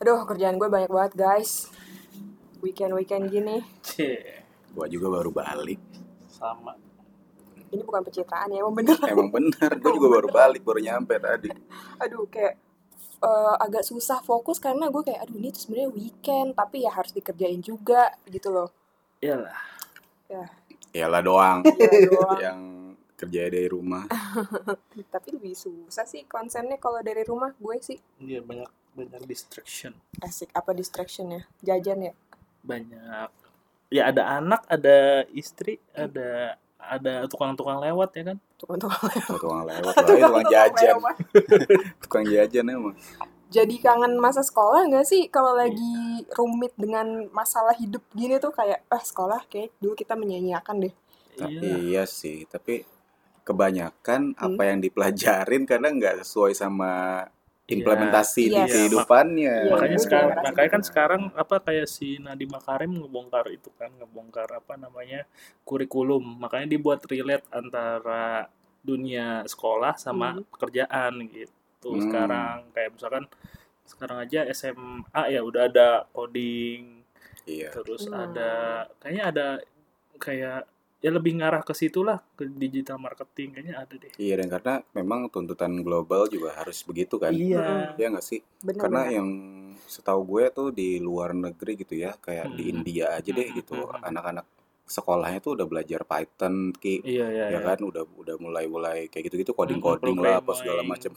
Aduh, kerjaan gue banyak banget, guys. Weekend-weekend gini. Cie, Gua juga baru balik. sama. Ini bukan pencitraan ya, emang bener. Emang bener, gua juga baru balik, baru nyampe tadi. Aduh, kayak eh, agak susah fokus karena gue kayak, aduh ini tuh sebenarnya weekend, tapi ya harus dikerjain juga gitu loh. Iyalah, Ya, Yalah doang. gila Iya doang. Yang kerja dari rumah. tapi lebih susah sih konsennya kalau dari rumah gue sih. dia Iya, banyak banyak distraction, Asik, apa distraction ya? Jajan ya? banyak. Ya ada anak, ada istri, ada ada tukang-tukang lewat ya kan? Tukang-tukang Tukang lewat lah, eh, tukang jajan. lewat. Tukang jajan emang. ya, Jadi kangen masa sekolah nggak sih Iya. kalau lagi rumit dengan masalah hidup gini tuh kayak ah sekolah kayak dulu kita menyanyiakan deh. Iya. Hmm. Iya sih, tapi kebanyakan apa yang dipelajarin kadang nggak sesuai sama implementasi di Yes. kehidupannya. Iya, Iya. Ya, Makanya gue sekarang, juga ngerasa makanya kan sekarang apa kayak si Nadiem Makarim ngebongkar itu kan, ngebongkar apa namanya kurikulum. Makanya dibuat relate antara dunia sekolah sama Hmm. pekerjaan gitu. Hmm. Sekarang kayak misalkan sekarang aja SMA ya udah ada coding, Iya. terus Hmm. ada kayaknya ada kayak ya lebih ngarah ke situ lah ke digital marketing kayaknya ada deh. Iya, dan karena memang tuntutan global juga harus begitu kan. Iya. Iya nggak sih? Bener Karena bener. yang setahu gue tuh di luar negeri gitu ya, kayak di Hmm. India aja deh Hmm, gitu. hmm, hmm. Anak-anak sekolahnya tuh udah belajar Python, Ki. Iya iya. Ya iya. kan udah udah mulai-mulai kayak gitu-gitu coding-coding lah apa segala macam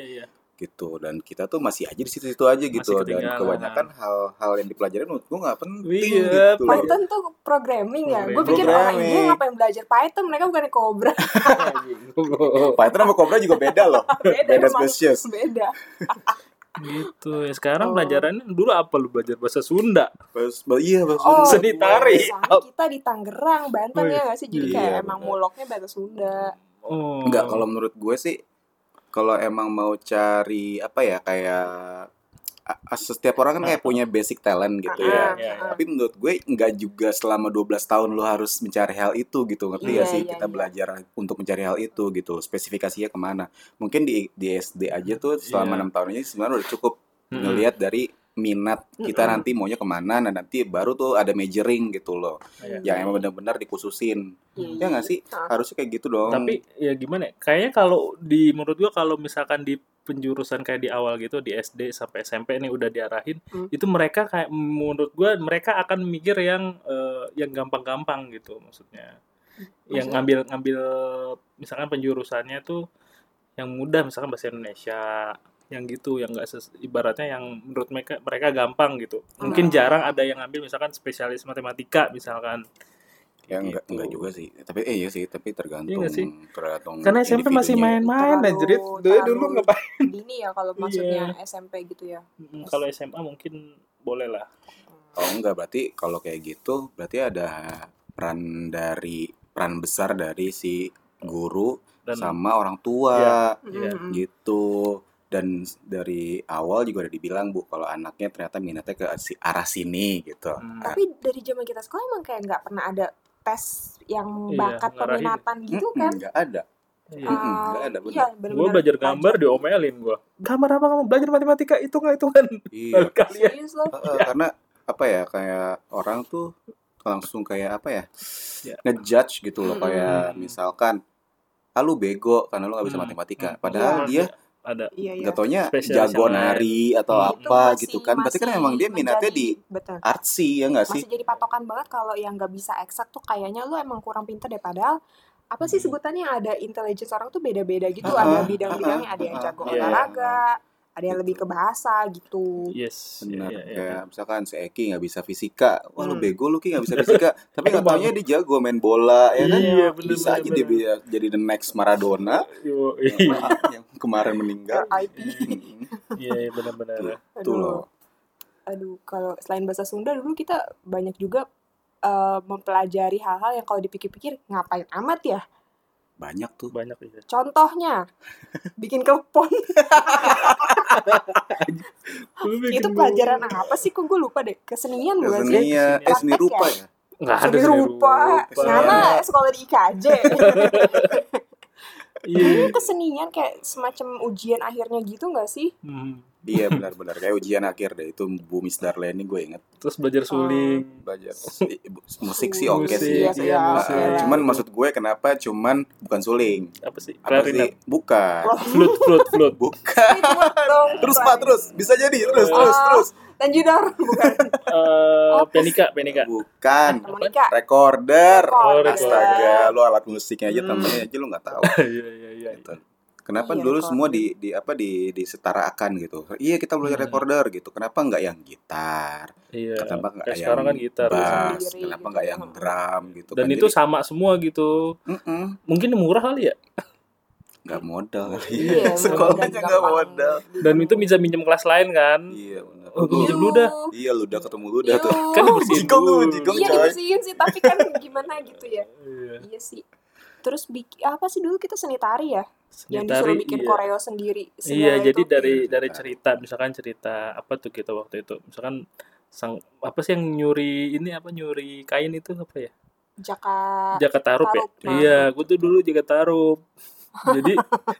Iya, iya, iya. gitu dan kita tuh masih aja di situ-situ aja gitu Masih dan ketinggalan. kebanyakan hal-hal yang dipelajarin menurut gue nggak penting Iya, gitu loh. Python tuh programming ya. Gue Programming. pikir orang Programming. India ngapain belajar Python mereka bukan kobra. iya. Python sama Cobra juga beda loh Beda beda emang. spesies Beda. gitu ya sekarang Oh. pelajarannya dulu apa lu belajar bahasa Sunda Terus- iya Bang. Oh, Seni tari. misalnya kita di Tangerang, Banten Wih, ya nggak sih? Jadi kayak iya, emang bener. muloknya bahasa Sunda. oh Enggak, kalau menurut gue sih kalau emang mau cari apa ya kayak a- a- setiap orang kan kayak punya basic talent Ah, gitu ya. iya, iya. Tapi menurut gue enggak juga selama 12 tahun lo harus mencari hal itu gitu. Ngerti Iya, ya sih iya, kita iya. belajar untuk mencari hal itu gitu. Spesifikasinya kemana? Mungkin di, di SD aja tuh selama Iya. enam tahun ini sebenarnya udah cukup Mm-mm. ngelihat dari minat kita Mm-mm. nanti maunya kemana nah nanti baru tuh ada majoring gitu loh Iya. yang emang benar-benar dikhususin Iya, ya nggak sih Ah. harusnya kayak gitu dong tapi ya gimana ya? kayaknya kalau di menurut gua kalau misalkan di penjurusan kayak di awal gitu di SD sampai SMP nih udah diarahin Hmm. itu mereka kayak menurut gua mereka akan mikir yang eh, yang gampang-gampang gitu maksudnya Maksudnya? yang ngambil ngambil misalkan penjurusannya tuh yang mudah misalkan bahasa Indonesia yang gitu yang enggak ibaratnya yang menurut mereka mereka gampang gitu mungkin Hmm. jarang ada yang ngambil misalkan spesialis matematika misalkan Ya enggak, Gitu. enggak juga sih. Tapi eh iya sih, tapi tergantung Iya enggak sih? tergantung karena SMP masih individunya. main-main Terlalu- anjrit dulu dulu terlalu- ngapain Dini ya Iya. kalau maksudnya SMP gitu ya. Mm, Kalau SMA mungkin boleh lah. Oh enggak berarti kalau kayak gitu berarti ada peran dari peran besar dari si guru Dan sama orang tua Iya. Mm-mm. gitu. Dan dari awal juga udah dibilang Bu kalau anaknya ternyata minatnya ke si- arah sini gitu. Hmm. Ah, Tapi dari zaman kita sekolah emang kayak nggak pernah ada tes yang Iya, bakat ngarahin. peminatan gitu mm-mm, kan? enggak ada. iya. Ah, Mm-mm, Ah, nggak ada, bener. Iya, bener-bener Gue belajar gambar diomelin gue. Gambar apa kamu? Belajar matematika, hitungan, hitungan. Iya. Kalian. Serius loh. Heeh, Iya. karena apa ya kayak orang tuh langsung kayak apa ya Ya. ngejudge gitu loh Mm-mm. kayak misalkan ah lu bego karena lu nggak bisa Hmm, matematika hmm. Ah, padahal Iya, dia Ada. Iya, iya. nggak taunya Spesialis jago yang lain. nari atau Hmm. Itu apa masih- gitu kan berarti kan masih emang dia minatnya di menjadi- betul. artsy ya nggak sih Masih jadi patokan banget kalau yang nggak bisa eksak tuh kayaknya lu emang kurang pintar deh padahal apa sih Hmm. sebutannya ada intelligence orang tuh beda-beda gitu Ah, ada ah, bidang-bidangnya ada yang ah, jago iya, iya. olahraga ada yang lebih ke bahasa gitu Yes. iya, benar iya, Mm. iya. kayak misalkan si Eki nggak bisa fisika wah lu Hmm. bego lu ki nggak bisa fisika tapi nggak Emang. taunya dia jago main bola ya kan Iya, bener, bisa bener, aja dia bener. bi- jadi the next Maradona Yo, yang, Iya, yang kemarin meninggal RIP iya, iya, benar-benar. itu loh aduh kalau selain bahasa Sunda dulu kita banyak juga eh, mempelajari hal-hal yang kalau dipikir-pikir ngapain amat ya banyak tuh Banyak ya. contohnya bikin klepon Ah, itu pelajaran apa sih kok gue lupa deh kesenian bukan sih seni ya eh, seni Praktek rupa ya? ya Enggak ada seni rupa nama sekolah di IKJ Iya. kesenian kayak semacam ujian akhirnya gitu nggak sih Hmm. Iya benar-benar kayak ujian akhir deh itu Bu Miss Darlene gue inget Terus Oh. belajar suling. belajar si- bu- musik sih oke Musik, sih. Iya, iya, iya, Nah, oke musik. lah. cuman maksud gue kenapa cuman bukan suling apa sih? apa Klarinet. sih bukan Wah, Flute, flute, flute. bukan itu mah dong. terus pak terus bisa jadi terus Oh. terus terus Tanjidor bukan Eh, Apa sih? penika, penika. bukan harmonika. recorder Oh, recorder. astaga lu alat musiknya aja Hmm. temennya aja lu nggak tahu Iya, iya, iya. gitu. Kenapa Iya, dulu recorder. semua di, di apa di disetarakan gitu? Iya kita belajar Hmm. recorder gitu. Kenapa nggak yang gitar? Iya. Kenapa nggak Kayak yang sekarang kan gitar bass? sendiri Kenapa gitu. nggak yang drum gitu? Dan kan? itu Jadi, sama semua gitu. mm-mm, Mungkin murah kali ya. nggak modal. Iya, sekolahnya nggak modal. kan. Dan itu bisa minjem kelas lain kan. Iya benar. Oh, Lu- minjem dulu dah. Iya lu udah ketemu lu udah tuh. Kan dibersihin Oh, Jigong dulu. lu jigong Iya coy. dibersihin sih tapi kan gimana gitu ya. Iya. Iya sih. Terus bikin apa sih dulu kita senitari ya? yang Senitari, disuruh bikin iya. koreo sendiri. Iya, segala jadi itu. dari Iya, dari cerita, cerita. misalkan cerita apa tuh kita waktu itu, misalkan sang apa sih yang nyuri ini apa nyuri kain itu apa ya? Jaka Jaka tarup ya. Ah, tarup, nah. Iya, gue tuh dulu jaga tarup. Jadi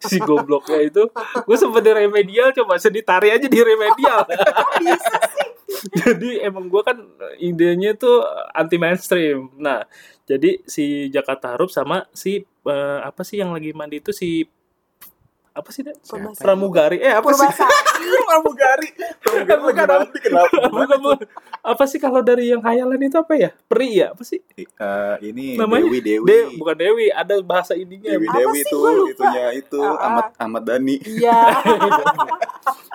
si gobloknya itu gue sempet di remedial coba senitari aja di remedial. Oh, bisa jadi emang gue kan idenya tuh anti mainstream. Nah, jadi si Jakarta Harup sama si eh, apa sih yang lagi mandi itu si apa sih dia? Siapa? Pramugari. Eh apa sih? Purbasari. Pramugari. Pramugari Bukan, gimana sih? kenapa? Bukan, bukan. apa sih kalau dari yang khayalan itu apa ya? Peri ya? Apa sih? Eh, ini Namanya? Dewi Dewi. De, bukan Dewi, ada bahasa ininya. Dewi Apa Dewi sih, tuh gua lupa. itunya itu Ah, ah. Ahmad Ahmad Dhani. Iya.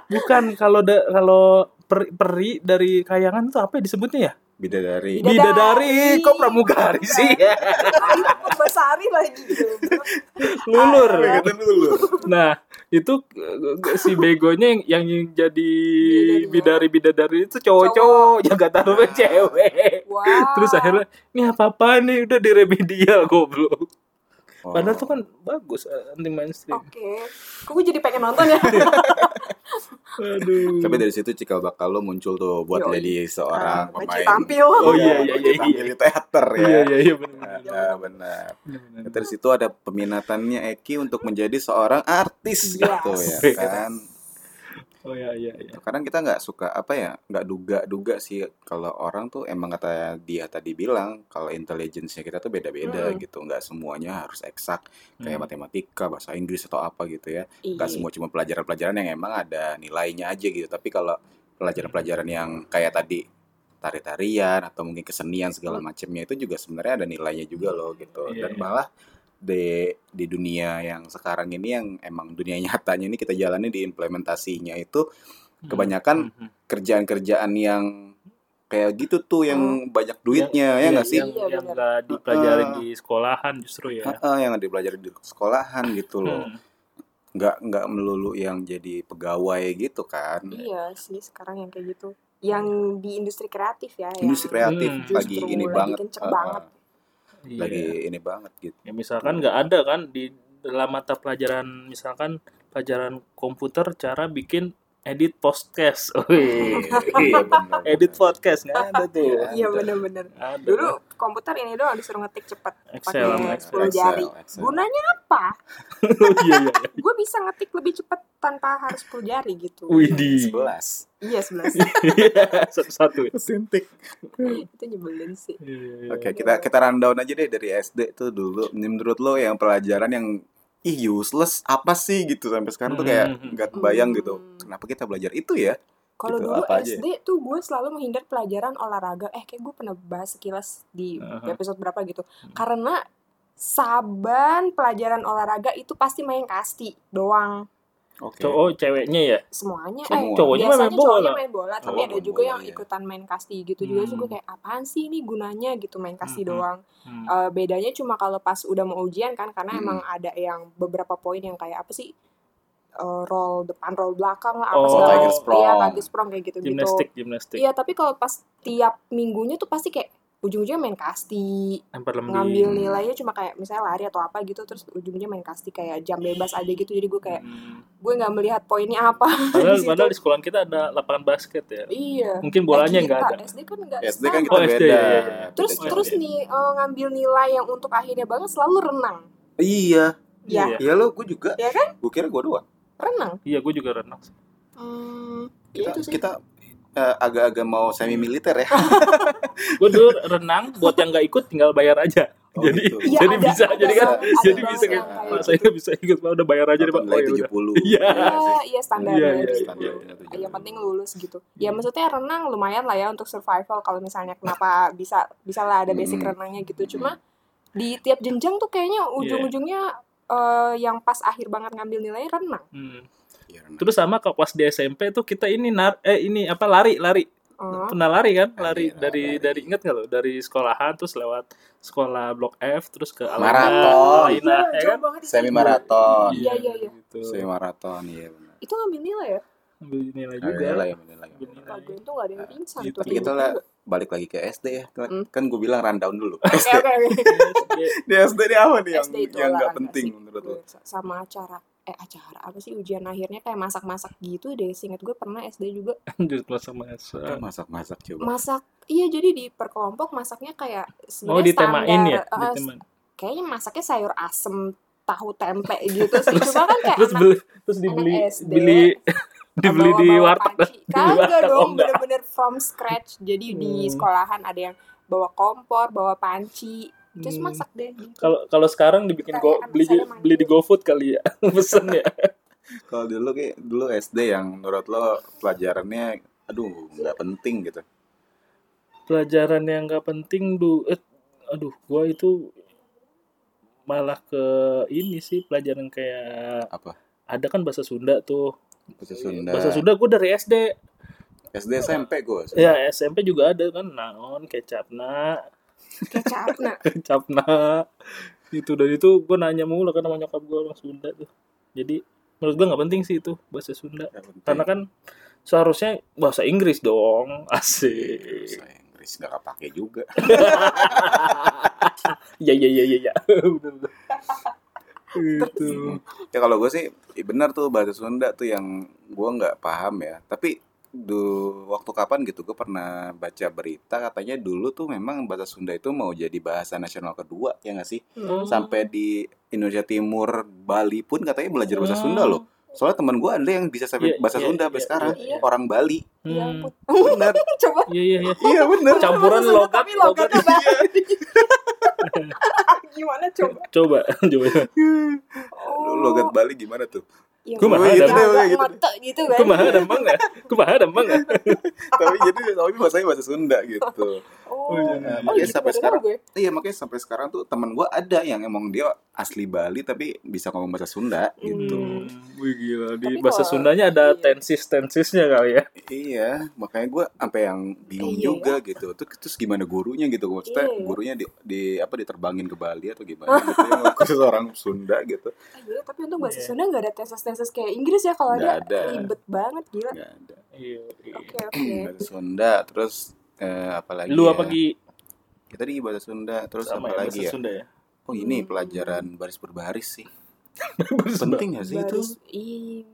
Bukan kalau da- kalau peri, peri dari kayangan itu apa ya disebutnya ya? Bidadari. Bidadari. Bidadari. Kok pramugari sih? Itu Purbasari lagi. gitu. Lulur. Ah, Kata dulu. Nah, itu eh, eh, si begonya yang, yang jadi Bidadari. Nah. bidadari-bidadari itu cowok-cowok, jaga taruhnya cewek. Wow. Terus akhirnya, ini apa-apa nih, udah diremedial goblok. Oh. Padahal tuh kan bagus, eh, anti gitu ya. mainstream. Oke, kok gue jadi pengen nonton ya? Aduh. Oh. Tapi dari situ cikal bakal lo muncul tuh buat Yoi. jadi seorang Baju pemain. tampil. Oh, iya, iya, baju iya, tampil di teater ya. Iya, iya, iya, Nah, benar. nah, benar. Nah, Dari situ ada peminatannya Eki untuk menjadi seorang artis Yes. gitu ya Yes. kan. Oh iya, iya, iya. Kadang kita nggak suka apa ya, nggak duga-duga sih kalau orang tuh emang kata dia tadi bilang kalau intelijensinya kita tuh beda-beda Mm. gitu, nggak semuanya harus eksak kayak Hmm. matematika, bahasa Inggris atau apa gitu ya. Iya. nggak semua cuma pelajaran-pelajaran yang emang ada nilainya aja gitu tapi kalau pelajaran-pelajaran yang kayak tadi tari-tarian atau mungkin kesenian segala macamnya itu juga sebenarnya ada nilainya juga loh gitu Iya, dan iya. malah di di dunia yang sekarang ini yang emang dunia nyatanya ini kita jalani di implementasinya itu kebanyakan Hmm, hmm, kerjaan-kerjaan yang kayak gitu tuh yang banyak duitnya ya Oh, Iya, nggak sih Yang, Iya, yang benar. nggak dipelajarin Ah. di sekolahan justru ya. Heeh, yang dipelajari di sekolahan gitu loh Hmm. nggak nggak melulu yang jadi pegawai gitu kan Iya sih sekarang yang kayak gitu. Yang di industri kreatif ya. yang industri kreatif Hmm. lagi justru ini lagi banget kenceng uh, uh, banget. Iya. lagi ini banget gitu Ya misalkan nggak ada kan di dalam mata pelajaran misalkan pelajaran komputer cara bikin edit podcast. Iya, Wih. benar, Iya, edit benar. podcast nggak ada tuh. Iya. Iya bener-bener. Ada. Dulu komputer ini doang disuruh ngetik cepet. Excel sama pakai Excel. sepuluh jari. Iya, Excel. Gunanya apa? Oh, iya iya. iya. Gue bisa ngetik lebih cepet tanpa harus 10 jari gitu. Widih. sebelas Iya sebelas. Satu satu. ya. sintik Itu nyebelin sih. Iya, iya, iya. oke kita kita rundown aja deh dari SD tuh dulu menurut lo yang pelajaran yang ih useless apa sih gitu sampai sekarang tuh kayak Hmm. nggak kebayang Hmm. gitu kenapa kita belajar itu ya Kalau Gitu, dulu apa aja? SD tuh gue selalu menghindar pelajaran olahraga. Eh kayak gue pernah bahas sekilas di Aha. Hmm. episode berapa gitu. Karena saban pelajaran olahraga itu pasti main kasti doang oke Cowok ceweknya ya. semuanya. Semua. Eh Cowoknya biasanya main bola. Oh, cowoknya main bola, tapi Cowok ada main juga bola, yang iya. ikutan main kasti gitu juga. Terus gue ya. Hmm. kayak apaan sih ini gunanya gitu main kasti Mm-mm. doang. Hmm. Eh, bedanya cuma kalau pas udah mau ujian kan karena Mm-mm. emang ada yang beberapa poin yang kayak apa sih Eh, roll depan roll belakang lah apa Oh, segala Tiger macam. Iya, Sprong. Tiger Sprong kayak gitu gitu. Gimnastik, gimnastik. Iya, tapi kalau pas tiap minggunya tuh pasti kayak ujung-ujungnya main kasti, Lempar ngambil lembing. nilainya cuma kayak misalnya lari atau apa gitu, terus ujungnya main kasti kayak jam bebas aja gitu. Jadi gue kayak Hmm. gue nggak melihat poinnya apa. Padahal, di situ. padahal di sekolah kita ada lapangan basket ya. iya. Mungkin bolanya Eh, nggak kita ada. SD kan nggak SD kan sama. kita Oh, SD, beda iya, iya, iya. Beda Terus jauh. terus nih eh, ngambil nilai yang untuk akhirnya banget selalu renang. iya Ya, Iya. iya lo gue juga Iya gue kira gue doang renang. Iya, gue juga renang. sih. Hmm, ya Kita, itu sih. Iya. kita eh, agak-agak mau semi militer ya. Gue dulu renang buat yang nggak ikut tinggal bayar aja. Oh, jadi gitu. Iya, jadi ada- bisa ada jadi kan yang- ada jadi banget bisa kan. yang kayak Pak, saya nggak bisa ikut Pak udah bayar aja deh Pak. Nilai Oh, ya udah. 70. Iya. Iya, iya standar ya, Iya, iya, Hmm. gitu. standar. Ah, Yang penting lulus gitu. Ya maksudnya renang lumayan lah ya untuk survival kalau misalnya kenapa bisa bisa lah ada basic Hmm. Mm. renangnya gitu. Cuma di tiap jenjang tuh Iya. kayaknya ujung-ujungnya eh, yang pas akhir banget ngambil nilai renang. Hmm. Iya, Terus sama kalau pas di SMP tuh kita ini nar eh ini apa lari lari Oh, pernah lari kan lari Lari, dari lari. dari inget nggak lo dari sekolahan terus lewat sekolah blok F terus ke Alana, Maraton. Alina, ya jauh kan? banget itu. Semi maraton. Iya, iya, iya. Gitu. Semi maraton iya benar. Itu ngambil nilai ya? Ambil nilai Ada juga. nilai, ada nilai. Ambil nilai. Kalau gue tuh gak ada yang pingsan Gitu. tuh. Iya, Tapi kita lah balik lagi ke SD ya. Kan- Hmm. Kan gue bilang rundown dulu. Oke, oke, oke. di SD ini apa nih yang SD itu yang nggak olahraga penting sih. menurut lo? Iya, sama acara eh acara apa sih ujian akhirnya kayak masak-masak gitu deh singkat gue pernah SD juga Lanjut masa-masa. Kan masak-masak coba. masak iya jadi di perkelompok masaknya kayak Mau sebenarnya Oh, ditemain standar, ya? eh, Ditemain. kayaknya masaknya sayur asem tahu tempe gitu sih cuma kan kayak Terus anak- beli terus dibeli SD, beli dibeli di bawa-bawa warteg. panci. Di kagak warteg, oh dong enggak. bener-bener from scratch jadi di Hmm. sekolahan ada yang bawa kompor bawa panci terus Hmm. masak deh gitu. Kalau kalau sekarang dibikin Kayak go, anak beli saya mandi. beli di GoFood kali ya. Pesen ya. Kalau dulu kayak dulu SD yang menurut lo pelajarannya aduh nggak penting gitu. Pelajaran yang nggak penting du eh, aduh gua itu malah ke ini sih pelajaran kayak Apa? ada kan bahasa Sunda tuh Bahasa Iya. Sunda. bahasa Sunda gue dari SD SD SMP gue. ya SMP juga ada kan naon kecapna kecap nah kecapna itu dari itu gue nanya mulu kan sama nyokap gue orang Sunda tuh jadi menurut gue nggak penting sih itu bahasa Sunda karena kan seharusnya bahasa Inggris dong asik bahasa Inggris nggak kepake juga. ya ya ya ya Gitu. ya Bener, bener. itu ya kalau gue sih i- benar tuh bahasa Sunda tuh yang gue nggak paham ya tapi du, waktu kapan gitu gue pernah baca berita katanya dulu tuh memang bahasa Sunda itu mau jadi bahasa nasional kedua ya nggak sih Hmm. sampai di Indonesia Timur Bali pun katanya belajar bahasa Sunda loh soalnya teman gue ada yang bisa Hmm. sampai Iya, bahasa iya, Sunda iya, sampai sekarang iya. orang Bali ya Hmm. ampun benar coba iya iya iya iya benar campuran Maksudnya logat tapi logat logatnya Bali. gimana coba coba coba Aduh, Iya. logat Bali gimana tuh Ya, Kumaha maksudnya ada- agak gitu. ngotok gitu kan kumaha dembang ya kumaha dembang ya tapi jadi tapi bahasanya bahasa Sunda gitu oh, Oh, iya, iya. oh Dia gitu, sampai baru sekarang- tahu gue. Iya makanya sampai sekarang tuh temen gue ada yang emang dia asli Bali tapi bisa ngomong bahasa Sunda gitu. Hmm. Wih gila di Tapi bahasa kalau- Sundanya ada iya. tensis tensisnya kali ya. Iya makanya gue sampai yang bingung Iya, juga gitu. Terus, terus gimana gurunya gitu? Maksudnya Iya. gurunya di, di apa diterbangin ke Bali atau gimana? gitu, yang khusus orang Sunda gitu. Ah, iya, tapi untuk bahasa Iya. Sunda nggak ada tesis-tesis kayak Inggris ya kalau Nggak ada, ada. ribet banget gila. Gak ada. Iya. iya. Oke oke. Bahasa Sunda terus eh, apa lagi? Lu apa ya? Gi? Kita di bahasa Sunda terus Sama apa ya, lagi bahasa ya? Sunda ya. Oh ini Hmm. pelajaran baris berbaris sih. Baris Penting gak sih itu? Baris- ih,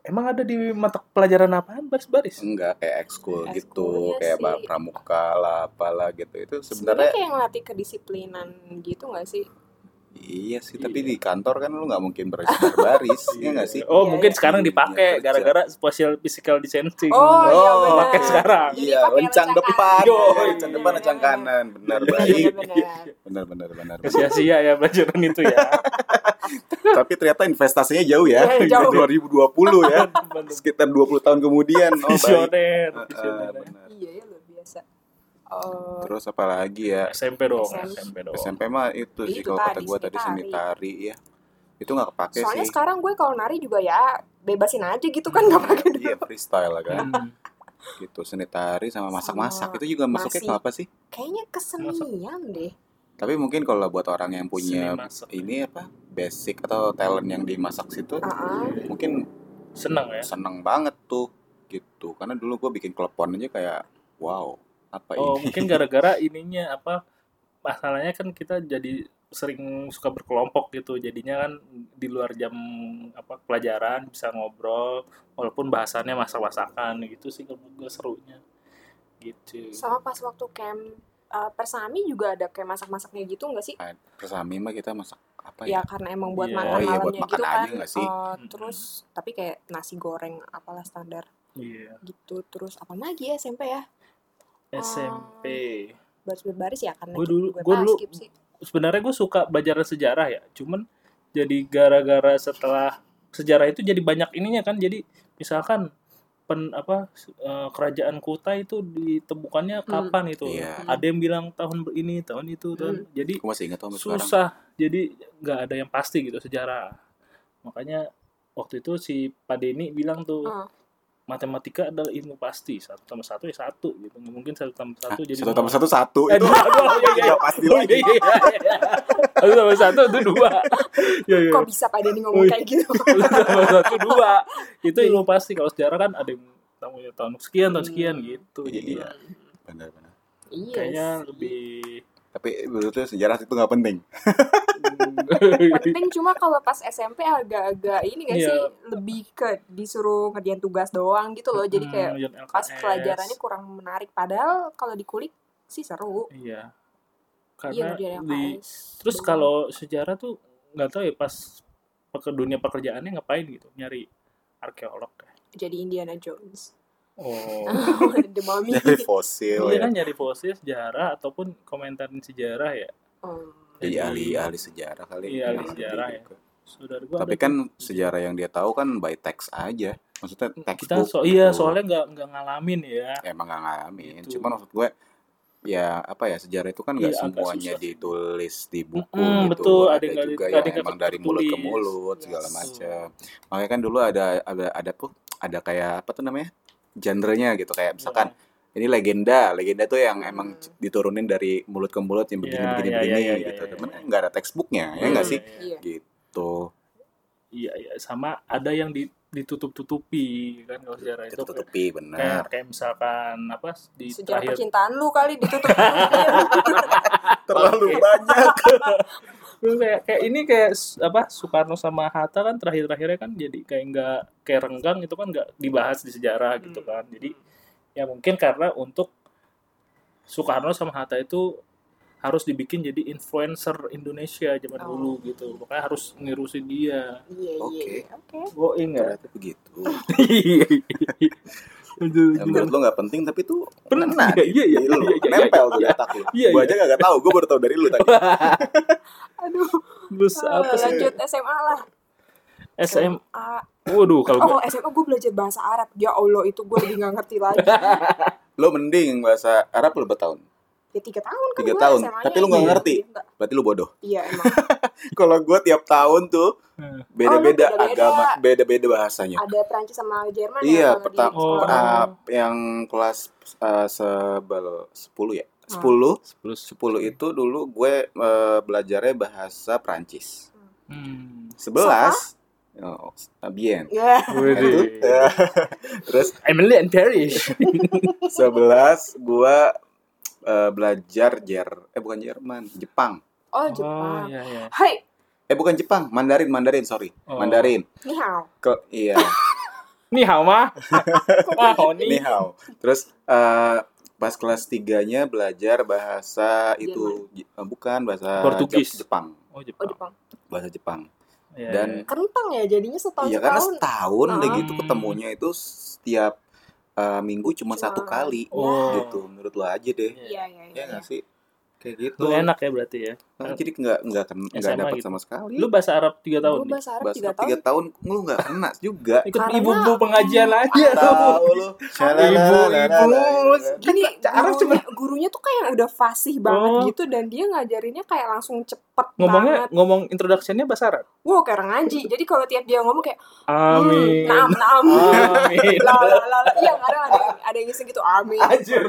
Emang ada di mata pelajaran apaan baris-baris? Enggak kayak Ekskul, ekskul gitu, iya kayak sih. pramuka lah apalah gitu. Itu sebenarnya sebenarnya kayak ngelatih kedisiplinan gitu nggak sih? Iya Iya. sih, tapi di kantor kan lu nggak mungkin baris baris, ya nggak sih? Iya, Oh, mungkin iya. sekarang dipakai Iya, kerja. gara-gara social physical distancing. Oh, iya Oh, benar. pakai sekarang. Jadi Iya, pakai lencang lengan depan, kanan. Yo, Iya, iya, lencang depan, Benar, lencang benar. kanan, benar Iya, baik, Benar, benar. benar benar benar. Iya. Sia-sia ya pelajaran itu ya. tapi ternyata investasinya jauh ya, Iya, jauh. 2020 ya, sekitar 20 tahun kemudian. Oh baik. Oh, Visioner, Ah, ah, visioner. benar. Iya ya luar biasa. Oh, Terus apa lagi ya? SMP dong, SMP. SMP dong. SMP mah itu sih Itu kalau kata tadi, gua tadi seni seni tari ya, itu nggak kepake Oh, soalnya sih. sekarang gue kalau nari juga ya bebasin aja gitu kan nggak pakai Iya freestyle kan, Hmm. gitu seni tari Sama sama masak-masak itu juga masuknya ke masih. apa sih? kayaknya kesenian deh Tapi mungkin kalau buat orang yang punya Seni masak. ini apa basic atau talent yang dimasak situ Ah, mungkin Seneng ya. seneng banget tuh gitu karena dulu gue bikin klepon aja kayak wow Iya. apa Oh, ini mungkin gara-gara ininya apa masalahnya kan kita jadi sering suka berkelompok gitu. Jadinya kan di luar jam apa pelajaran bisa ngobrol walaupun bahasannya masak-masakan gitu sih kalau gue serunya. Gitu. sama pas waktu camp eh, persami juga ada kayak masak-masaknya gitu nggak sih Ah, persami mah kita masak apa ya ya? karena emang buat Iya. makan Oh, iya, malamnya buat makan gitu aja kan nggak Eh, sih? Mm-mm. terus tapi kayak nasi goreng apalah standar Iya. gitu terus apa lagi ya SMP ya SMP. baris berbaris ya karena Gua gitu, dulu- gue gua pas dulu- skip sih Sebenarnya gue suka pelajaran sejarah ya. Cuman jadi gara-gara setelah sejarah itu jadi banyak ininya kan. Jadi misalkan pen apa eh, kerajaan Kutai itu ditemukannya kapan itu? Iya. Ada yang bilang tahun ini, tahun itu, tahun. Jadi Gue masih ingat sama sekarang. susah jadi nggak ada yang pasti gitu sejarah makanya waktu itu si Pak Denny bilang tuh Hmm. matematika adalah ilmu pasti satu tambah satu ya satu gitu nggak mungkin satu tambah Hah, satu jadi satu tambah satu satu Eh, itu dua, dua, iya, iya. udah pasti Oh, lagi. iya, iya, iya. satu tambah satu itu dua ya, ya. kok bisa pada nih ngomong Oh, iya. kayak gitu satu tambah satu dua itu ilmu pasti kalau sejarah kan ada yang tamunya tahun sekian tahun sekian Hmm. gitu jadi Iya. ya, Benar-benar. Iya kayaknya sih. lebih Tapi sebetulnya sejarah itu nggak penting. hmm. penting cuma kalau pas SMP agak-agak ini gak Iya. sih lebih ke disuruh ngerjain tugas doang gitu loh jadi kayak Hmm, yang pas LKS. pelajarannya kurang menarik padahal kalau dikulik sih seru Iya. iya Karena ngerjain yang di lain terus Bener. kalau sejarah tuh nggak tahu ya pas ke dunia pekerjaannya ngapain gitu nyari arkeolog ya. jadi Indiana Jones Oh. The Mummy Dari fosil Iya ya. kan nyari fosil sejarah ataupun komentarin sejarah ya. Hmm. Jadi ahli-ahli sejarah kali. Iya, ahli Nggak ngerti sejarah ya. juga. Saudara gua Tapi ada kan tuh. sejarah yang dia tahu kan by text aja. Maksudnya kita textbook. so iya gitu. soalnya nggak nggak ngalamin ya. emang gak ngalamin. Gitu. Cuman maksud gue ya apa ya sejarah itu kan nggak Iya, agak semuanya susah sih. ditulis di buku Mm-mm, gitu. betul. Ada Ada, yang nggak juga di- ada yang yang emang nggak Iya, dari mulut ke tertulis. mulut segala Yes. macam. Makanya kan dulu ada ada ada tuh ada kayak apa tuh namanya? genrenya gitu kayak misalkan Iya. ini legenda, legenda tuh yang emang Hmm. c- diturunin dari mulut ke mulut yang begini Iya, begini iya, begini iya, iya, gitu. iya, Cuman iya. nggak ada textbooknya ya nggak Hmm, sih? iya Gitu. Iya, iya. sama ada yang di- ditutup-tutupi kan kalau sejarah itu kayak, Ditutupi kayak, benar. kayak misalkan apa di sejarah terakhir percintaan lu kali ditutup Terlalu banyak. Terus kayak kayak ini kayak s- apa Soekarno sama Hatta kan terakhir-terakhirnya kan jadi kayak nggak kayak renggang itu kan nggak dibahas di sejarah gitu kan jadi ya mungkin karena untuk Soekarno sama Hatta itu harus dibikin jadi influencer Indonesia zaman Oh. dulu gitu makanya harus ngirusin dia iya Oke. iya oke gue enggak Ternyata begitu. Ya, gitu. menurut lo gak penting tapi tuh Pernah, kena iya, di- iya, di iya, lu, iya, iya, iya, nempel tuh di iya. otak lu. Iya, Gua iya. aja gak tahu, gue baru tahu dari lu tadi. aduh terus apa eh, sih lanjut SMA lah SM Ah, waduh kalau oh gua- SMA gue belajar bahasa Arab ya Allah itu gue lebih nggak ngerti lagi Lo mending bahasa Arab lu berapa tahun? ya tiga tahun kan Tiga gua tahun, SMA -nya. tapi lu nggak Iya, ngerti. nggak. Berarti lu bodoh. iya emang Kalau gue tiap tahun tuh Hmm. beda-beda Oh, lu beda-beda. agama, beda-beda bahasanya. ada Perancis sama Jerman Iya, ya kalau di pertama Oh. sekolah. yang kelas eh, sebel 10 ya. Hmm. 10 terus 10 itu dulu gue eh, belajarnya bahasa Prancis. hmm. 11 Oh, bien. ya Nah, Itu, Waduh. ya. terus Emily and Paris 11 gua eh, belajar Jer eh bukan Jerman, Jepang. oh Jepang iya, iya. hai Eh bukan Jepang, Mandarin, Mandarin, sorry. Oh. Mandarin. ni hao Ke iya, Ni hao ma. Ah, hao ni. ini how. Terus eh, pas kelas 3-nya belajar bahasa itu J- eh, bukan bahasa Portugis. Jep- Jepang, oh Oh, Jepang. Jepang bahasa Jepang. Iya, Dan- kentang ya jadinya setahun Iya karena setahun setahun udah Ah. gitu ketemunya itu setiap eh, minggu cuma Cuma- satu kali Oh. gitu. Menurut lo aja deh. iya. iya iya Ya iya nggak sih? Kayak gitu. Lu enak ya berarti ya. Nah, jadi nggak nggak ken- nggak SMA dapat gitu. sama sekali. Lu bahasa Arab 3 tahun. gue nih. bahasa Arab bahasa tiga tiga tahun tahun, lu nggak kena juga Ikut Karena- ibu-ibu pengajian aja lu. tahu lu Ibu-ibu. gini Kan Arab gurunya, gurunya tuh kayak udah fasih banget Oh. gitu dan dia ngajarinnya kayak langsung cepet Ngomongnya banget ngomong introduction-nya bahasa Arab. wow kayak orang ngaji jadi kalau tiap dia ngomong kayak Amin. hmm, naam naam Amin. la la la la. iya kadang ada yang ada yang iseng gitu amin Anjir.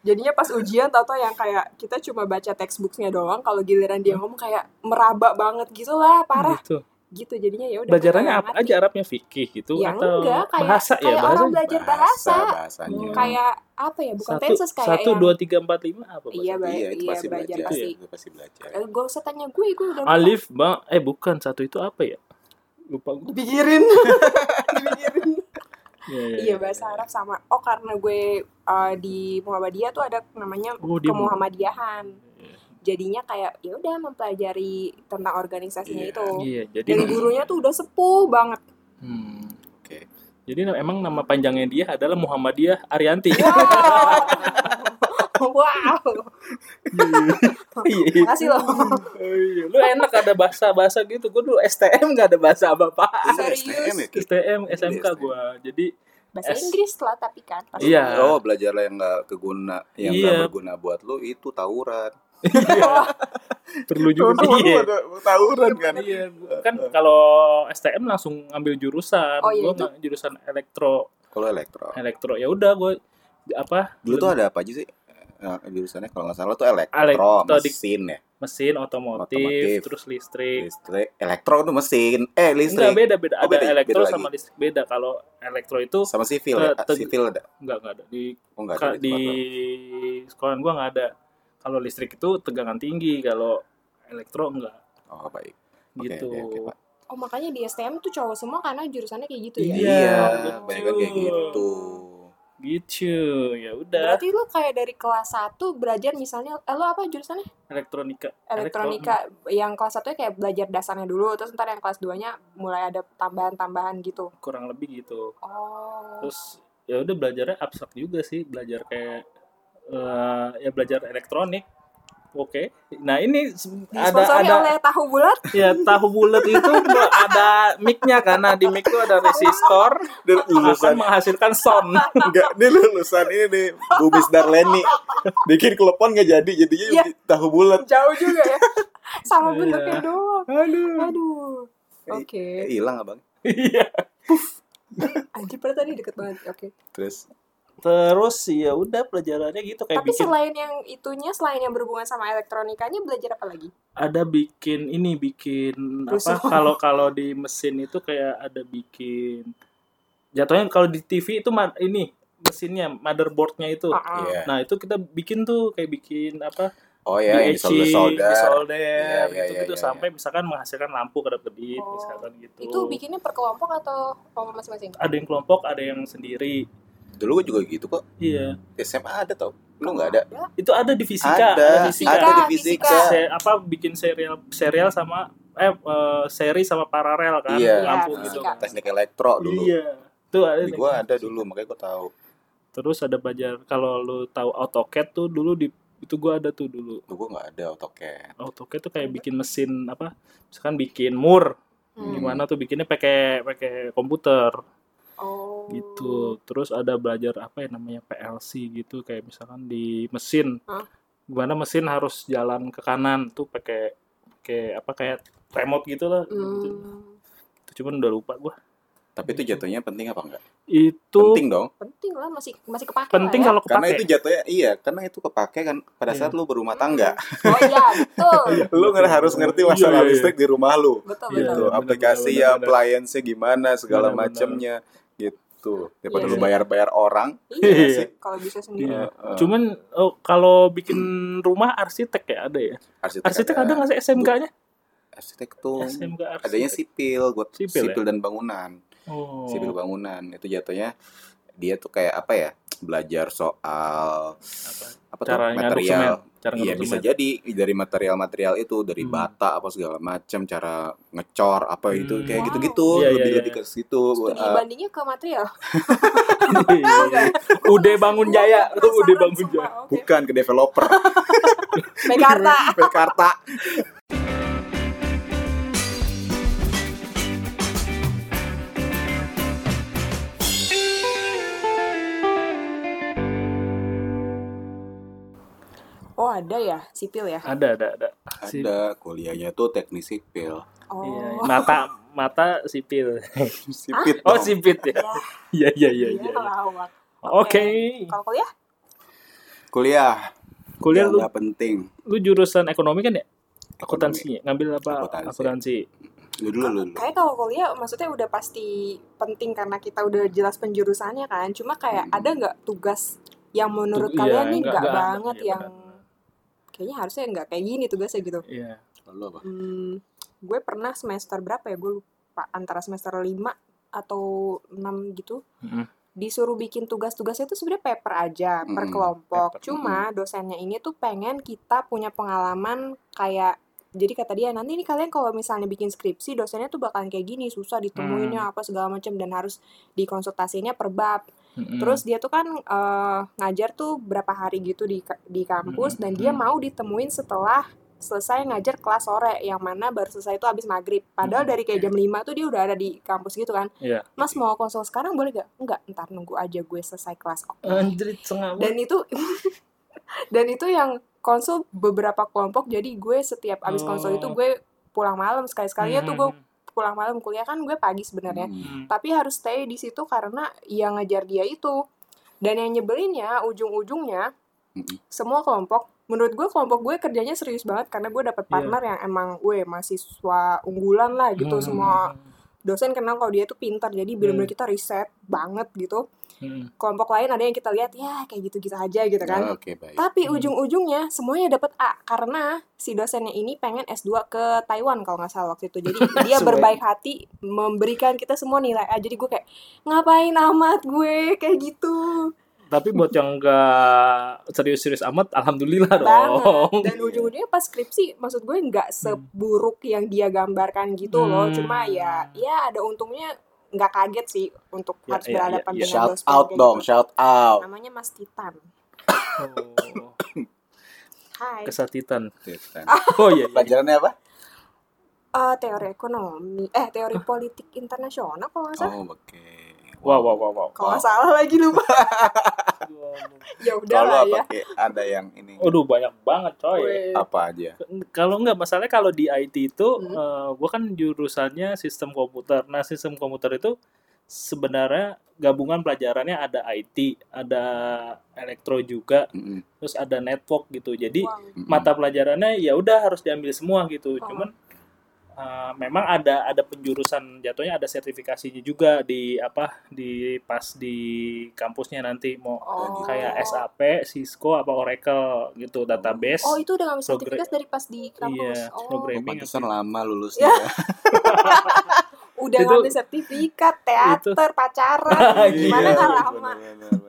jadinya pas ujian tau-tau yang kayak kita cuma baca textbooknya doang kalau giliran dia ngomong kayak meraba banget gitu lah parah Gitu. gitu jadinya ya udah Belajarannya kita apa ngerti. aja Arabnya fikih gitu Ya atau enggak, kayak- bahasa ya kayak bahasa. orang belajar bahasa, bahasanya Hmm, kayak apa ya bukan tenses kayak satu yang- dua tiga empat lima apa bahasa? iya, ba- iya itu iya pasti belajar belajar pasti itu pasti belajar Eh, gak usah tanya gue gue udah lupa. Alif ba eh bukan satu itu apa ya? Lupa gue. dipikirin dipikirin iya bahasa Arab sama oh karena gue eh, di Muhammadiyah tuh ada namanya Oh, dia Iya. kemuhammadiyahan jadinya kayak ya udah mempelajari tentang organisasinya Iya. itu Iya, jadi dan gurunya tuh udah sepuh banget Hmm. Oke. Jadi na- emang nama panjangnya dia adalah Muhammadiyah Arianti. Iya. wow wow makasih loh Iya, lu enak ada bahasa-bahasa gitu. Gue dulu STM gak ada bahasa apa-apa. Lu Serius? STM ya? Ki? STM, SMK STM. gue. Jadi bahasa S. Inggris lah tapi kan pasti. Iya. Oh, belajarlah yang nggak keguna, yang nggak Iya. berguna buat lu itu tawuran. perlu juga. Teman-teman Iya. pada tawuran kan. Iya, gua- kan kalau STM langsung ngambil jurusan. Oh, iya, Gua itu. nggak- jurusan elektro, Kalau elektro. elektro. Ya udah gue apa Dulu tuh ada apa aja sih? Nah, jurusannya kalau nggak salah tuh elektro, Elektro di- mesin ya. mesin otomotif, Otomotif. terus listrik. Listrik, elektro tuh mesin. Enggak Eh, listrik beda beda Oh, ada beda, elektro beda lagi. sama listrik beda. Kalau elektro itu sama sivil ya. Ke- teg- Sivil ada. enggak enggak ada di Oh, nggak Ka- ada. di sekolah gua nggak ada. Kalau listrik itu tegangan tinggi, kalau elektro enggak Oh, baik. Oke, gitu. oke, oke, Pak. oh makanya di STM tuh cowok semua karena jurusannya kayak gitu ya Iya, Iya, betul. banyak kayak gitu. Gitu. Ya udah, berarti lu kayak dari kelas 1 belajar misalnya eh, lu apa jurusannya elektronika. elektronika yang kelas satunya kayak belajar dasarnya dulu terus ntar yang kelas 2 nya mulai ada tambahan-tambahan gitu Elektro- kurang lebih gitu. oh Terus ya udah belajarnya abstrak juga sih, belajar kayak eh, ya belajar elektronik. Oke. Nah, ini se- ada disponsori ada oleh tahu bulat ya tahu bulat itu ada mic-nya karena di mic itu ada resistor Dia akan lulusan menghasilkan sound. enggak, dia lulusan ini nih, Bumis Darleni. Bikin klepon nggak jadi, jadinya Iya. tahu bulat. jauh juga ya Hmm. sama Iya. bentuknya doang Aduh. aduh oke Eh, hilang abang. Iya. anjir padahal tadi deket banget oke Terus Terus ya udah pelajarannya gitu kayak tapi bikin selain yang itunya selain yang berhubungan sama elektronikanya belajar apa lagi ada bikin ini bikin Rusuh. apa kalau kalau di mesin itu kayak ada bikin jatuhnya kalau di TV itu ma- ini mesinnya motherboardnya itu. Ah, ah. Iya. Nah, itu kita bikin tuh kayak bikin apa? Oh ya, yang DHC, disolder-solder. disolder, Iya, iya, gitu-gitu iya, iya. sampai misalkan menghasilkan lampu kedap-kedip Oh. misalkan gitu. itu bikinnya per kelompok atau kelompok masing-masing ada yang kelompok, ada yang sendiri. Dulu gue juga gitu kok. Iya. SMA ada tau. Lu nggak ada? Itu ada di fisika, ada. fisika. Ada di Fisika, fisika. Se- apa bikin serial serial sama eh eh, seri sama paralel kan Iya. lampu Iya, gitu fisika. kan. Teknik elektro dulu. Iya. Tuh ada Di gua ada dulu, makanya gua tahu. Terus ada belajar kalau lu tahu AutoCAD tuh dulu di itu gua ada tuh dulu. Lu gua nggak ada AutoCAD. AutoCAD tuh kayak bikin mesin apa? Misalkan bikin mur, Hmm. gimana tuh bikinnya pakai pakai komputer oh gitu. Terus ada belajar apa ya namanya PLC gitu kayak misalkan di mesin. Hah? Gimana mesin harus jalan ke kanan tuh pakai kayak apa kayak remote gitu lah. Hmm, Itu cuman udah lupa gua. Tapi itu jatuhnya penting apa enggak? Itu Penting dong. penting lah masih masih kepake penting lah ya. kalau Karena itu kepake. Iya. jatuhnya iya, karena itu kepake kan pada saat lu berumah oh tangga. iya betul lu nggak harus ngerti Iya, masalah iya. listrik di rumah lu. betul betul Iya. Gitu, benar, aplikasi benar, ya, benar. appliance-nya gimana, segala Benar, benar. macemnya gitu. Daripada Iya, lu iya. bayar-bayar orang. iya Iya. sih kalau bisa sendiri Iya. eh, eh, Cuman oh, kalau bikin rumah arsitek ya ada ya. arsitek, Arsitek ada nggak sih SMK-nya? Arsitek tuh SMK arsitek. adanya sipil, gua Sipil sipil, ya? dan bangunan. Oh. sipil bangunan itu jatuhnya dia tuh kayak apa ya belajar soal Apa? apa Cara tuh ngaduk material semen. Cara Iya ngaduk bisa semen. jadi dari material-material itu dari Hmm. bata apa segala macam cara ngecor apa itu Hmm. kayak Wow. gitu-gitu Iya, iya, lebih iya. lebih ke situ studi Eh, bandingnya ke material UD Bangun Jaya, lu UD Bangun Jaya. bukan ke developer Mekarta Jakarta oh ada ya sipil ya Ada ada ada. Si- ada kuliahnya tuh teknik sipil oh Iya, mata mata sipil. sipit Oh, dong. sipit ya. Ya, Iya iya iya iya. lawak. Oke. Kalau kuliah? kuliah Iya, Kuliah yang lu nggak penting lu jurusan ekonomi kan ya? Ekonomi. Akuntansi. Ngambil apa? Akuntansi. Akuntansi. lu dulu lu dulu. Kayak kalau kuliah maksudnya udah pasti penting karena kita udah jelas penjurusannya kan. Cuma kayak Hmm. ada nggak tugas yang menurut Tug- kalian iya, nih nggak- nggak nggak ada. banget Iya, yang kayaknya harusnya nggak kayak gini tugasnya gitu. Iya. Lu apa? Hmm, gue pernah semester berapa ya? Gue lupa antara semester 5 atau 6 gitu. Mm. disuruh bikin tugas-tugasnya itu sebenarnya paper aja per Mm-mm, kelompok. paper, Cuma dosennya ini tuh pengen kita punya pengalaman kayak jadi kata dia nanti ini kalian kalau misalnya bikin skripsi dosennya tuh bakalan kayak gini susah ditemuinnya Mm. apa segala macam dan harus dikonsultasinya per bab. Mm-mm. Terus dia tuh kan eh, ngajar tuh berapa hari gitu di ka- di kampus Mm-mm, dan dia mm. mau ditemuin setelah selesai ngajar kelas sore yang mana baru selesai itu abis maghrib. Padahal Mm-mm, dari kayak Hmm. oke. jam 5 tuh dia udah ada di kampus gitu kan. Iya. Mas mau konsul sekarang boleh gak? Enggak, ntar nunggu aja gue selesai kelas. Oke. Anjrit setengah Dan itu dan itu yang konsul beberapa kelompok. Jadi gue setiap abis konsul itu Oh. gue pulang malam sekali-sekalinya tuh gue Mm, pulang malam kuliah kan gue pagi sebenarnya mm, Hmm. tapi harus stay di situ karena yang ngejar dia itu. Dan yang nyebelinnya ujung-ujungnya Mm-mm. semua kelompok menurut gue kelompok gue kerjanya serius banget karena gue dapet partner yang emang gue mahasiswa unggulan lah gitu mm, semua dosen kenal kalau dia tuh pintar jadi bener-bener kita riset banget gitu mm, kelompok lain ada yang kita lihat ya kayak gitu-gitu aja gitu kan Oh, Oke baik. tapi Hmm. ujung-ujungnya semuanya dapat A karena si dosennya ini pengen S2 ke Taiwan kalau nggak salah waktu itu. Jadi dia Semuanya. berbaik hati memberikan kita semua nilai A. Jadi gue kayak ngapain amat gue kayak gitu. tapi buat yang enggak serius-serius amat alhamdulillah Banget. dong Dan ujung-ujungnya pas skripsi maksud gue nggak seburuk yang dia gambarkan gitu loh. Hmm. Cuma ya ya ada untungnya nggak kaget sih untuk Ya, harus ya, berhadapan ya, ya. dengan Shout dosen kayak out gitu. dong, shout out. Namanya Mas Titan. Oh, Hai. kesatitan Titan. oh iya, iya. Ah, Pelajarannya apa? Eh, teori ekonomi, eh teori politik internasional kalau nggak salah. Oh oke. wow wow wow wow Kalau nggak salah lagi lupa. ya udah Kalau lah apa iya. ya. Ki? ada yang ini Aduh banyak banget coy. Weh. apa aja? Kalau nggak masalahnya kalau di IT itu, Hmm. eh, gua kan jurusannya sistem komputer. Nah sistem komputer itu sebenarnya gabungan pelajarannya ada IT, ada elektro juga, Mm-mm, terus ada network gitu. Jadi Wah, mm-mm. Oh, mata pelajarannya ya udah harus diambil semua gitu. Oh. Cuman eh, memang ada ada penjurusan jatuhnya ada sertifikasinya juga di apa di pas di kampusnya nanti mau Oh. kayak SAP, Cisco, apa Oracle gitu database. Oh itu udah ngambil Progre- sertifikat dari pas di kampus. Iya, oh, progre- Oh, Framing pantesan apa? lama lulusnya. udah Itu- ngambil sertifikat teater, pacaran, gimana Iya, nggak lama.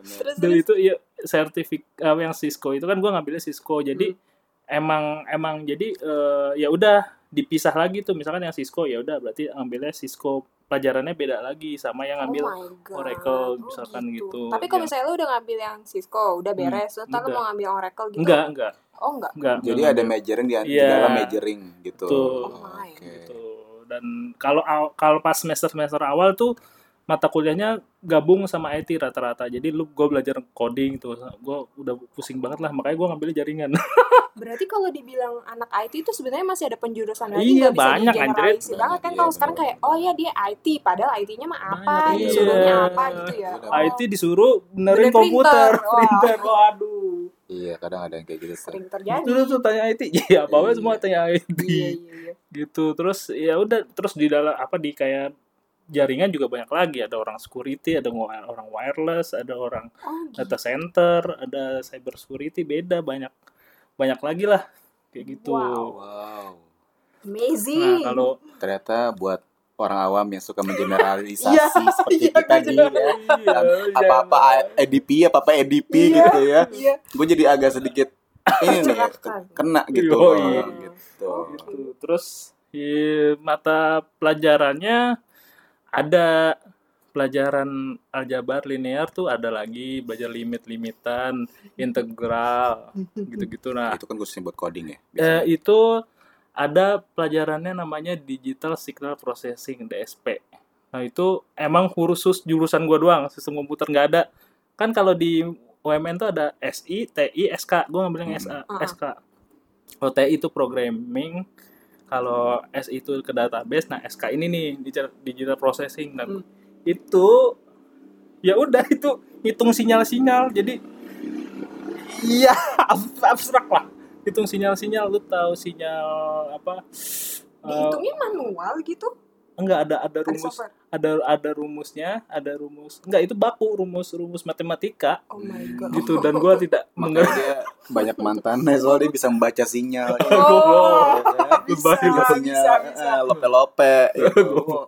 Terus Dan terus. itu ya sertifik eh, yang Cisco itu kan gua ngambilnya Cisco. Jadi Hmm. emang emang jadi eh, ya udah dipisah lagi tuh misalkan yang Cisco ya udah berarti ambilnya Cisco pelajarannya beda lagi sama yang Oh ngambil my god. Oracle, Oh, misalkan gitu. Tapi kalau Ya. misalnya lu udah ngambil yang Cisco, udah beres, terus terus lu udah. mau ngambil Oracle gitu. enggak enggak Oh enggak. enggak. Jadi enggak ada ngambil. majoring di, di Iya. dalam majoring gitu. Betul. Oh my. Oke. gitu. Dan kalau aw- kalau pas semester-semester awal tuh mata kuliahnya gabung sama IT rata-rata. Jadi lu gue belajar coding tuh. Gue udah pusing banget lah, makanya gue ngambil jaringan. Oh. Berarti kalau dibilang anak IT itu sebenarnya masih ada penjurusan lagi Iya, nggak bisa banyak, digeneralisir anjrit. banget kan Banyak, kalau iya, sekarang kayak bener. oh ya dia IT padahal IT-nya mah apa, Banyak, iya. disuruhnya apa gitu ya. Iya. Oh, IT disuruh benerin Benerin komputer, printer. Wah. printer. Waduh. Iya, kadang ada yang kayak gitu. Sar. sering Itu terjadi. tuh tanya IT. Iya, apa Iya. semua tanya IT. Iya, iya, iya. gitu terus ya udah terus di dalam apa di kayak jaringan juga banyak lagi ada orang security ada ngo- orang wireless ada orang Oh, gitu. data center ada cyber security beda banyak banyak lagi lah kayak gitu Wow. Wow. nah Amazing. kalau Ternyata buat orang awam yang suka mengeneralisasi Iya, seperti iya, kita gue di juga. ya. Iya, apa-apa jangan. EDP ya, apa-apa EDP Iya. gitu ya. Iya. Gue jadi agak sedikit ini nih Tercerahkan. kena gitu. Yoi. loh, gitu. Gitu. terus di mata pelajarannya ada pelajaran aljabar linear tuh ada lagi belajar limit limitan integral gitu-gitu nah Itu kan khususnya buat coding Eh, ya. biasanya. itu ada pelajarannya namanya Digital Signal Processing DSP. Nah itu emang khusus jurusan gua doang, sistem komputer nggak ada. Kan kalau di UMN tuh ada SI, TI, SK. Gua ngambil yang Hmm. SA, Ah. SK. Kalau TI itu programming, kalau SI itu ke database, nah SK ini nih digital- digital processing Hmm. dan itu ya udah itu hitung sinyal-sinyal. Jadi iya ab- abstrak lah hitung sinyal-sinyal lu tahu sinyal apa eh, Dihitungnya manual gitu? enggak ada ada Ada rumus software? ada ada rumusnya ada rumus enggak itu baku rumus rumus matematika Oh my god. gitu dan gua tidak Makanya mengerti dia banyak mantannya soalnya dia bisa membaca sinyal. Oh, Bisa, Baca bisa, bisa, sinyal, bisa. eh, lope-lope. gitu. Wah,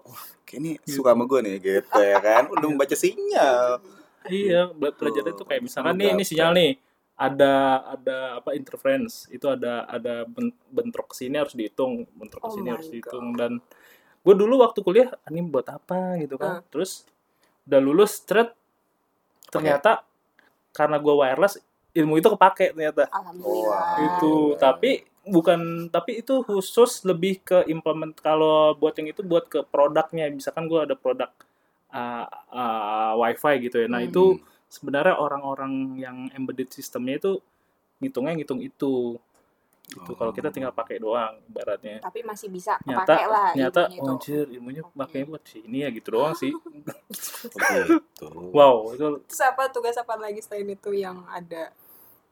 Kayak ini suka sama gue nih gitu ya kan. Udah membaca sinyal. iya bela- belajarnya tuh kayak misalkan nih ini Gaptek. sinyal nih ada ada apa interference itu ada ada ben- bentrok sini harus dihitung bentrok Oh sini my harus God. dihitung dan gue dulu waktu kuliah "Ah, ini buat apa gitu kan Ah. terus udah lulus thread ternyata karena gue wireless ilmu itu kepake ternyata Alhamdulillah. Wah. itu Iya. tapi bukan tapi itu khusus lebih ke implement kalau buat yang itu buat ke produknya misalkan gue ada produk uh, uh, wifi gitu ya nah Hmm. itu sebenarnya orang-orang yang embedded sistemnya itu ngitungnya ngitung itu gitu Oh. kalau kita tinggal pakai doang ibaratnya Tapi masih bisa nyata kepake lah nyata ilmunya oh, itu. anjir ilmunya Oke. makanya buat sini ya gitu doang sih gitu. wow itu Terus apa tugas apa lagi selain itu yang ada?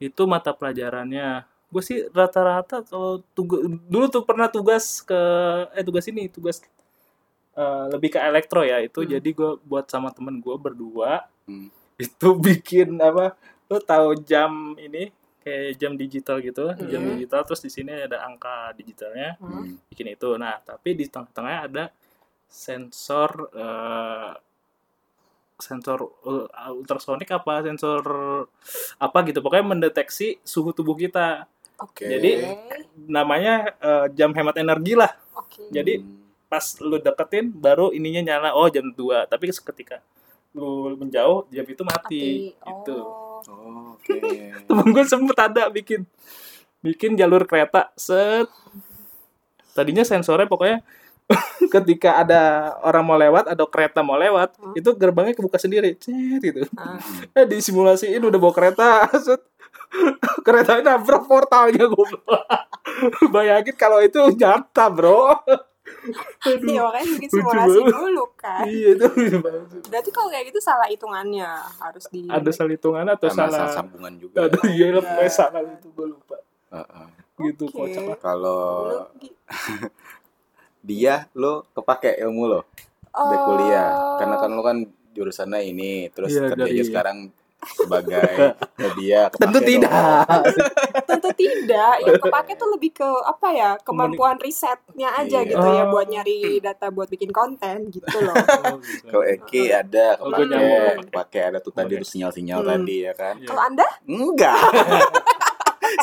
itu mata pelajarannya gue sih rata-rata kalau tugas dulu tuh pernah tugas ke eh tugas ini tugas eh, lebih ke elektro ya itu Hmm. jadi gue buat sama temen gue berdua Hmm. itu bikin apa lo tahu jam ini kayak jam digital gitu jam Hmm. digital terus di sini ada angka digitalnya Hmm? Hmm. bikin itu nah tapi di tengah-tengah ada sensor eh, sensor ul- ultrasonik apa sensor apa gitu pokoknya mendeteksi suhu tubuh kita Oke. Jadi- namanya eh, jam hemat energi lah Oke. Jadi, pas lu deketin baru ininya nyala oh jam 2 tapi ketika lu menjauh jam itu mati, gitu Oh. Oh, oke. temen gue sempet ada bikin bikin jalur kereta set tadinya sensornya pokoknya ketika ada orang mau lewat ada kereta mau lewat Hmm. itu gerbangnya kebuka sendiri cet gitu Ah. eh disimulasiin udah bawa kereta set keretanya nabrak portalnya goblok bayangin kalau itu nyata bro Aduh. Iya makanya bikin lucu simulasi banget. dulu kan. iya itu Berarti kalau kayak gitu salah hitungannya harus di. ada salah hitungan atau Sama salah sambungan juga. ya. aduh iya lah Iya. pokoknya salah itu gue lupa Heeh. gitu Oke. kocak lah. Kalau Dulu gi- dia lo kepake ilmu lo di Oh. kuliah. Karena kan lo kan jurusannya ini, terus Iya, kerjanya dari- sekarang sebagai media. kepake tentu dong. tidak tentu tidak yang kepake tuh lebih ke apa ya kemampuan risetnya aja Iya. gitu ya Oh. Iya. buat nyari data buat bikin konten gitu loh Oh, Kalau Eki ada Oh, gua kepake, nyambung. kepake ada tuh tadi Oke. tuh sinyal-sinyal Hmm. tadi ya kan? Iya. kalau anda Enggak.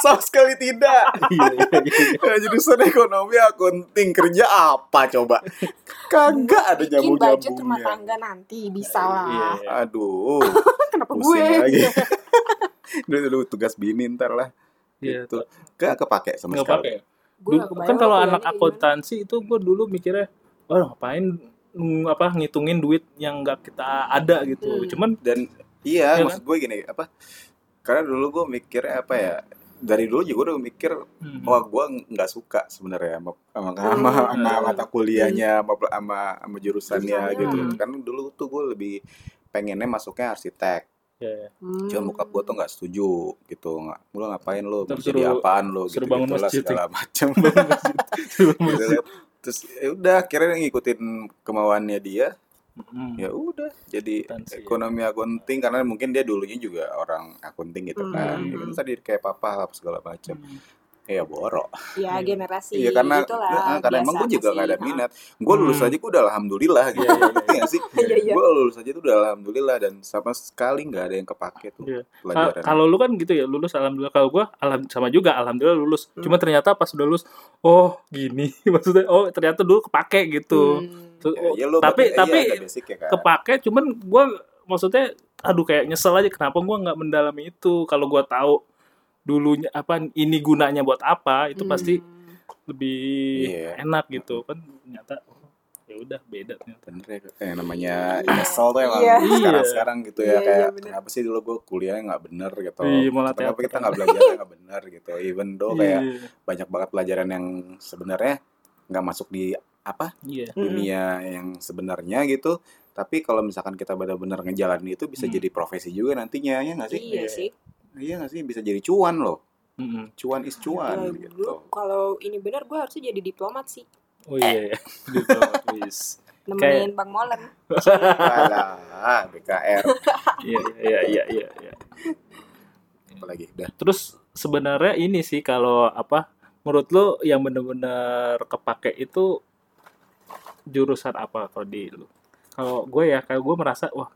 Sama sekali tidak. Nah, Iya, iya, iya. Jurusan ekonomi akunting kerja apa coba? Kagak ada bikin budget rumah nyambung-nyambungnya. tangga nanti bisa Iya, lah Kan iya. Aduh, kenapa gue pusing lagi. Dulu dulu tugas bini ntar lah. Iya, Gitu. Gak kepake sama nggak sekali. apa-apa ya. gue Dulu- nggak kebayang kan kalau kuliahnya anak kayak akuntansi itu gue dulu mikirnya wah ngapain mm, apa ngitungin duit yang nggak kita ada gitu Hmm. cuman Dan Iya iya, kan? maksud gue gini apa? Karena dulu gue mikirnya apa ya? Dari dulu juga udah mikir hmm, wah gue nggak suka sebenarnya sama sama, Hmm. sama, Oh, sama iya. Hmm. mata kuliahnya sama, sama, sama jurusannya Jurusannya. gitu Hmm. kan dulu tuh gue lebih pengennya masuknya arsitek iya, iya. gimana? Hmm. cuma bokap gue tuh nggak setuju gitu nggak lu ngapain lu Terus jadi suruh- apaan lu gitu suruh bangun gitulah masjid, ya. segala macem Iya, Iya Gitu Maksud- kan. terus ya udah akhirnya ngikutin kemauannya dia Hmm. ya udah jadi Akuntansi, ya. ekonomi akunting karena mungkin dia dulunya juga orang akunting gitu kan Hmm. Ya kan tadi kayak papa lah segala macam Hmm. ya borok ya Iya. generasi Iya karena gitulah, nah, karena emang gitu biasa gue juga masih, gak ada nah. minat. Gue lulus Hmm. aja gue udah alhamdulillah gitu. Iya, iya, Ngerti nggak sih? Iya, iya. Gue lulus aja tuh udah alhamdulillah dan sama sekali nggak ada yang kepake tuh Iya. Ka- pelajaran. kalau lu kan gitu ya lulus alhamdulillah kalau gua alham sama juga alhamdulillah lulus Hmm. cuma ternyata pas udah lulus oh gini maksudnya oh ternyata dulu kepake gitu Hmm. Tuh, Ya, oh, ya lu tapi berarti- tapi iya, ada basic ya kan. kepake cuman gua maksudnya aduh kayak nyesel aja kenapa gua nggak mendalami itu kalau gua tahu dulunya apa ini gunanya buat apa itu pasti Hmm. lebih Iya. enak gitu kan ternyata oh, ya udah beda ternyata Bener ya, eh, namanya nyesel tuh yang Iya. sekarang-sekarang gitu ya Iya, kayak iya, bener. kenapa sih dulu gue kuliahnya nggak bener gitu Iya, malah kenapa teater. kita nggak belajarnya nggak bener gitu even though kayak Iya, banyak banget pelajaran yang sebenarnya nggak masuk di apa iya Mm-mm. dunia yang sebenarnya gitu. Tapi kalau misalkan kita benar-benar ngejalanin itu bisa Hmm. jadi profesi juga nantinya ya nggak sih? Iya Iya. sih. Iya nggak sih? Bisa jadi cuan loh. Mm-mm. Cuan is Kalau cuan dulu, gitu. kalau ini benar gue harusnya jadi diplomat sih. oh iya iya Gitu, wis. Nemenin Bang Molen. Alah, BKR iya iya iya iya iya. apalagi udah. terus sebenarnya ini sih kalau apa menurut lo yang bener-bener kepake itu jurusan apa kalau di lu kalau gue ya kayak gue merasa wah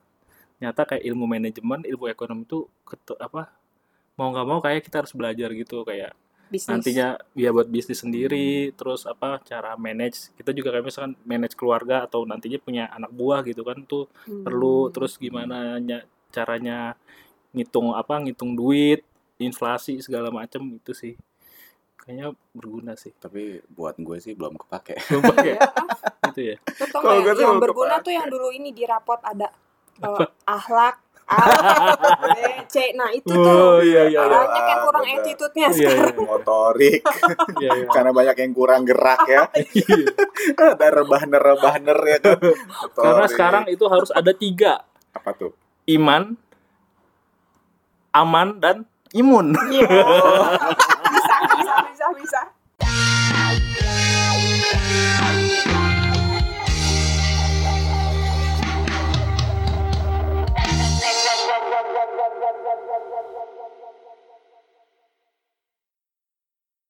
nyata kayak ilmu manajemen ilmu ekonomi itu ketu- apa mau nggak mau kayak kita harus belajar gitu kayak bisnis nantinya ya buat bisnis sendiri terus apa cara manage kita juga kayak misalkan manage keluarga atau nantinya punya anak buah gitu kan tuh Hmm. perlu terus gimana nya- caranya ngitung apa ngitung duit inflasi segala macem itu sih kayaknya berguna sih Tapi buat gue sih belum kepake. Lupa Iya, ya gitu ya Lu tau Kalau nggak gua tuh yang mau berguna kepake. tuh yang dulu ini di rapot ada eh, Apa? ahlak A, B, C. Nah itu tuh oh iya iya iya banyak yang kurang Bener. attitude-nya iya sekarang. Motorik iya iya karena banyak yang kurang gerak ya. Iya. Ada rebah-rebahner ya kan. Motorik. karena sekarang itu harus ada tiga apa tuh? iman aman dan imun Iya.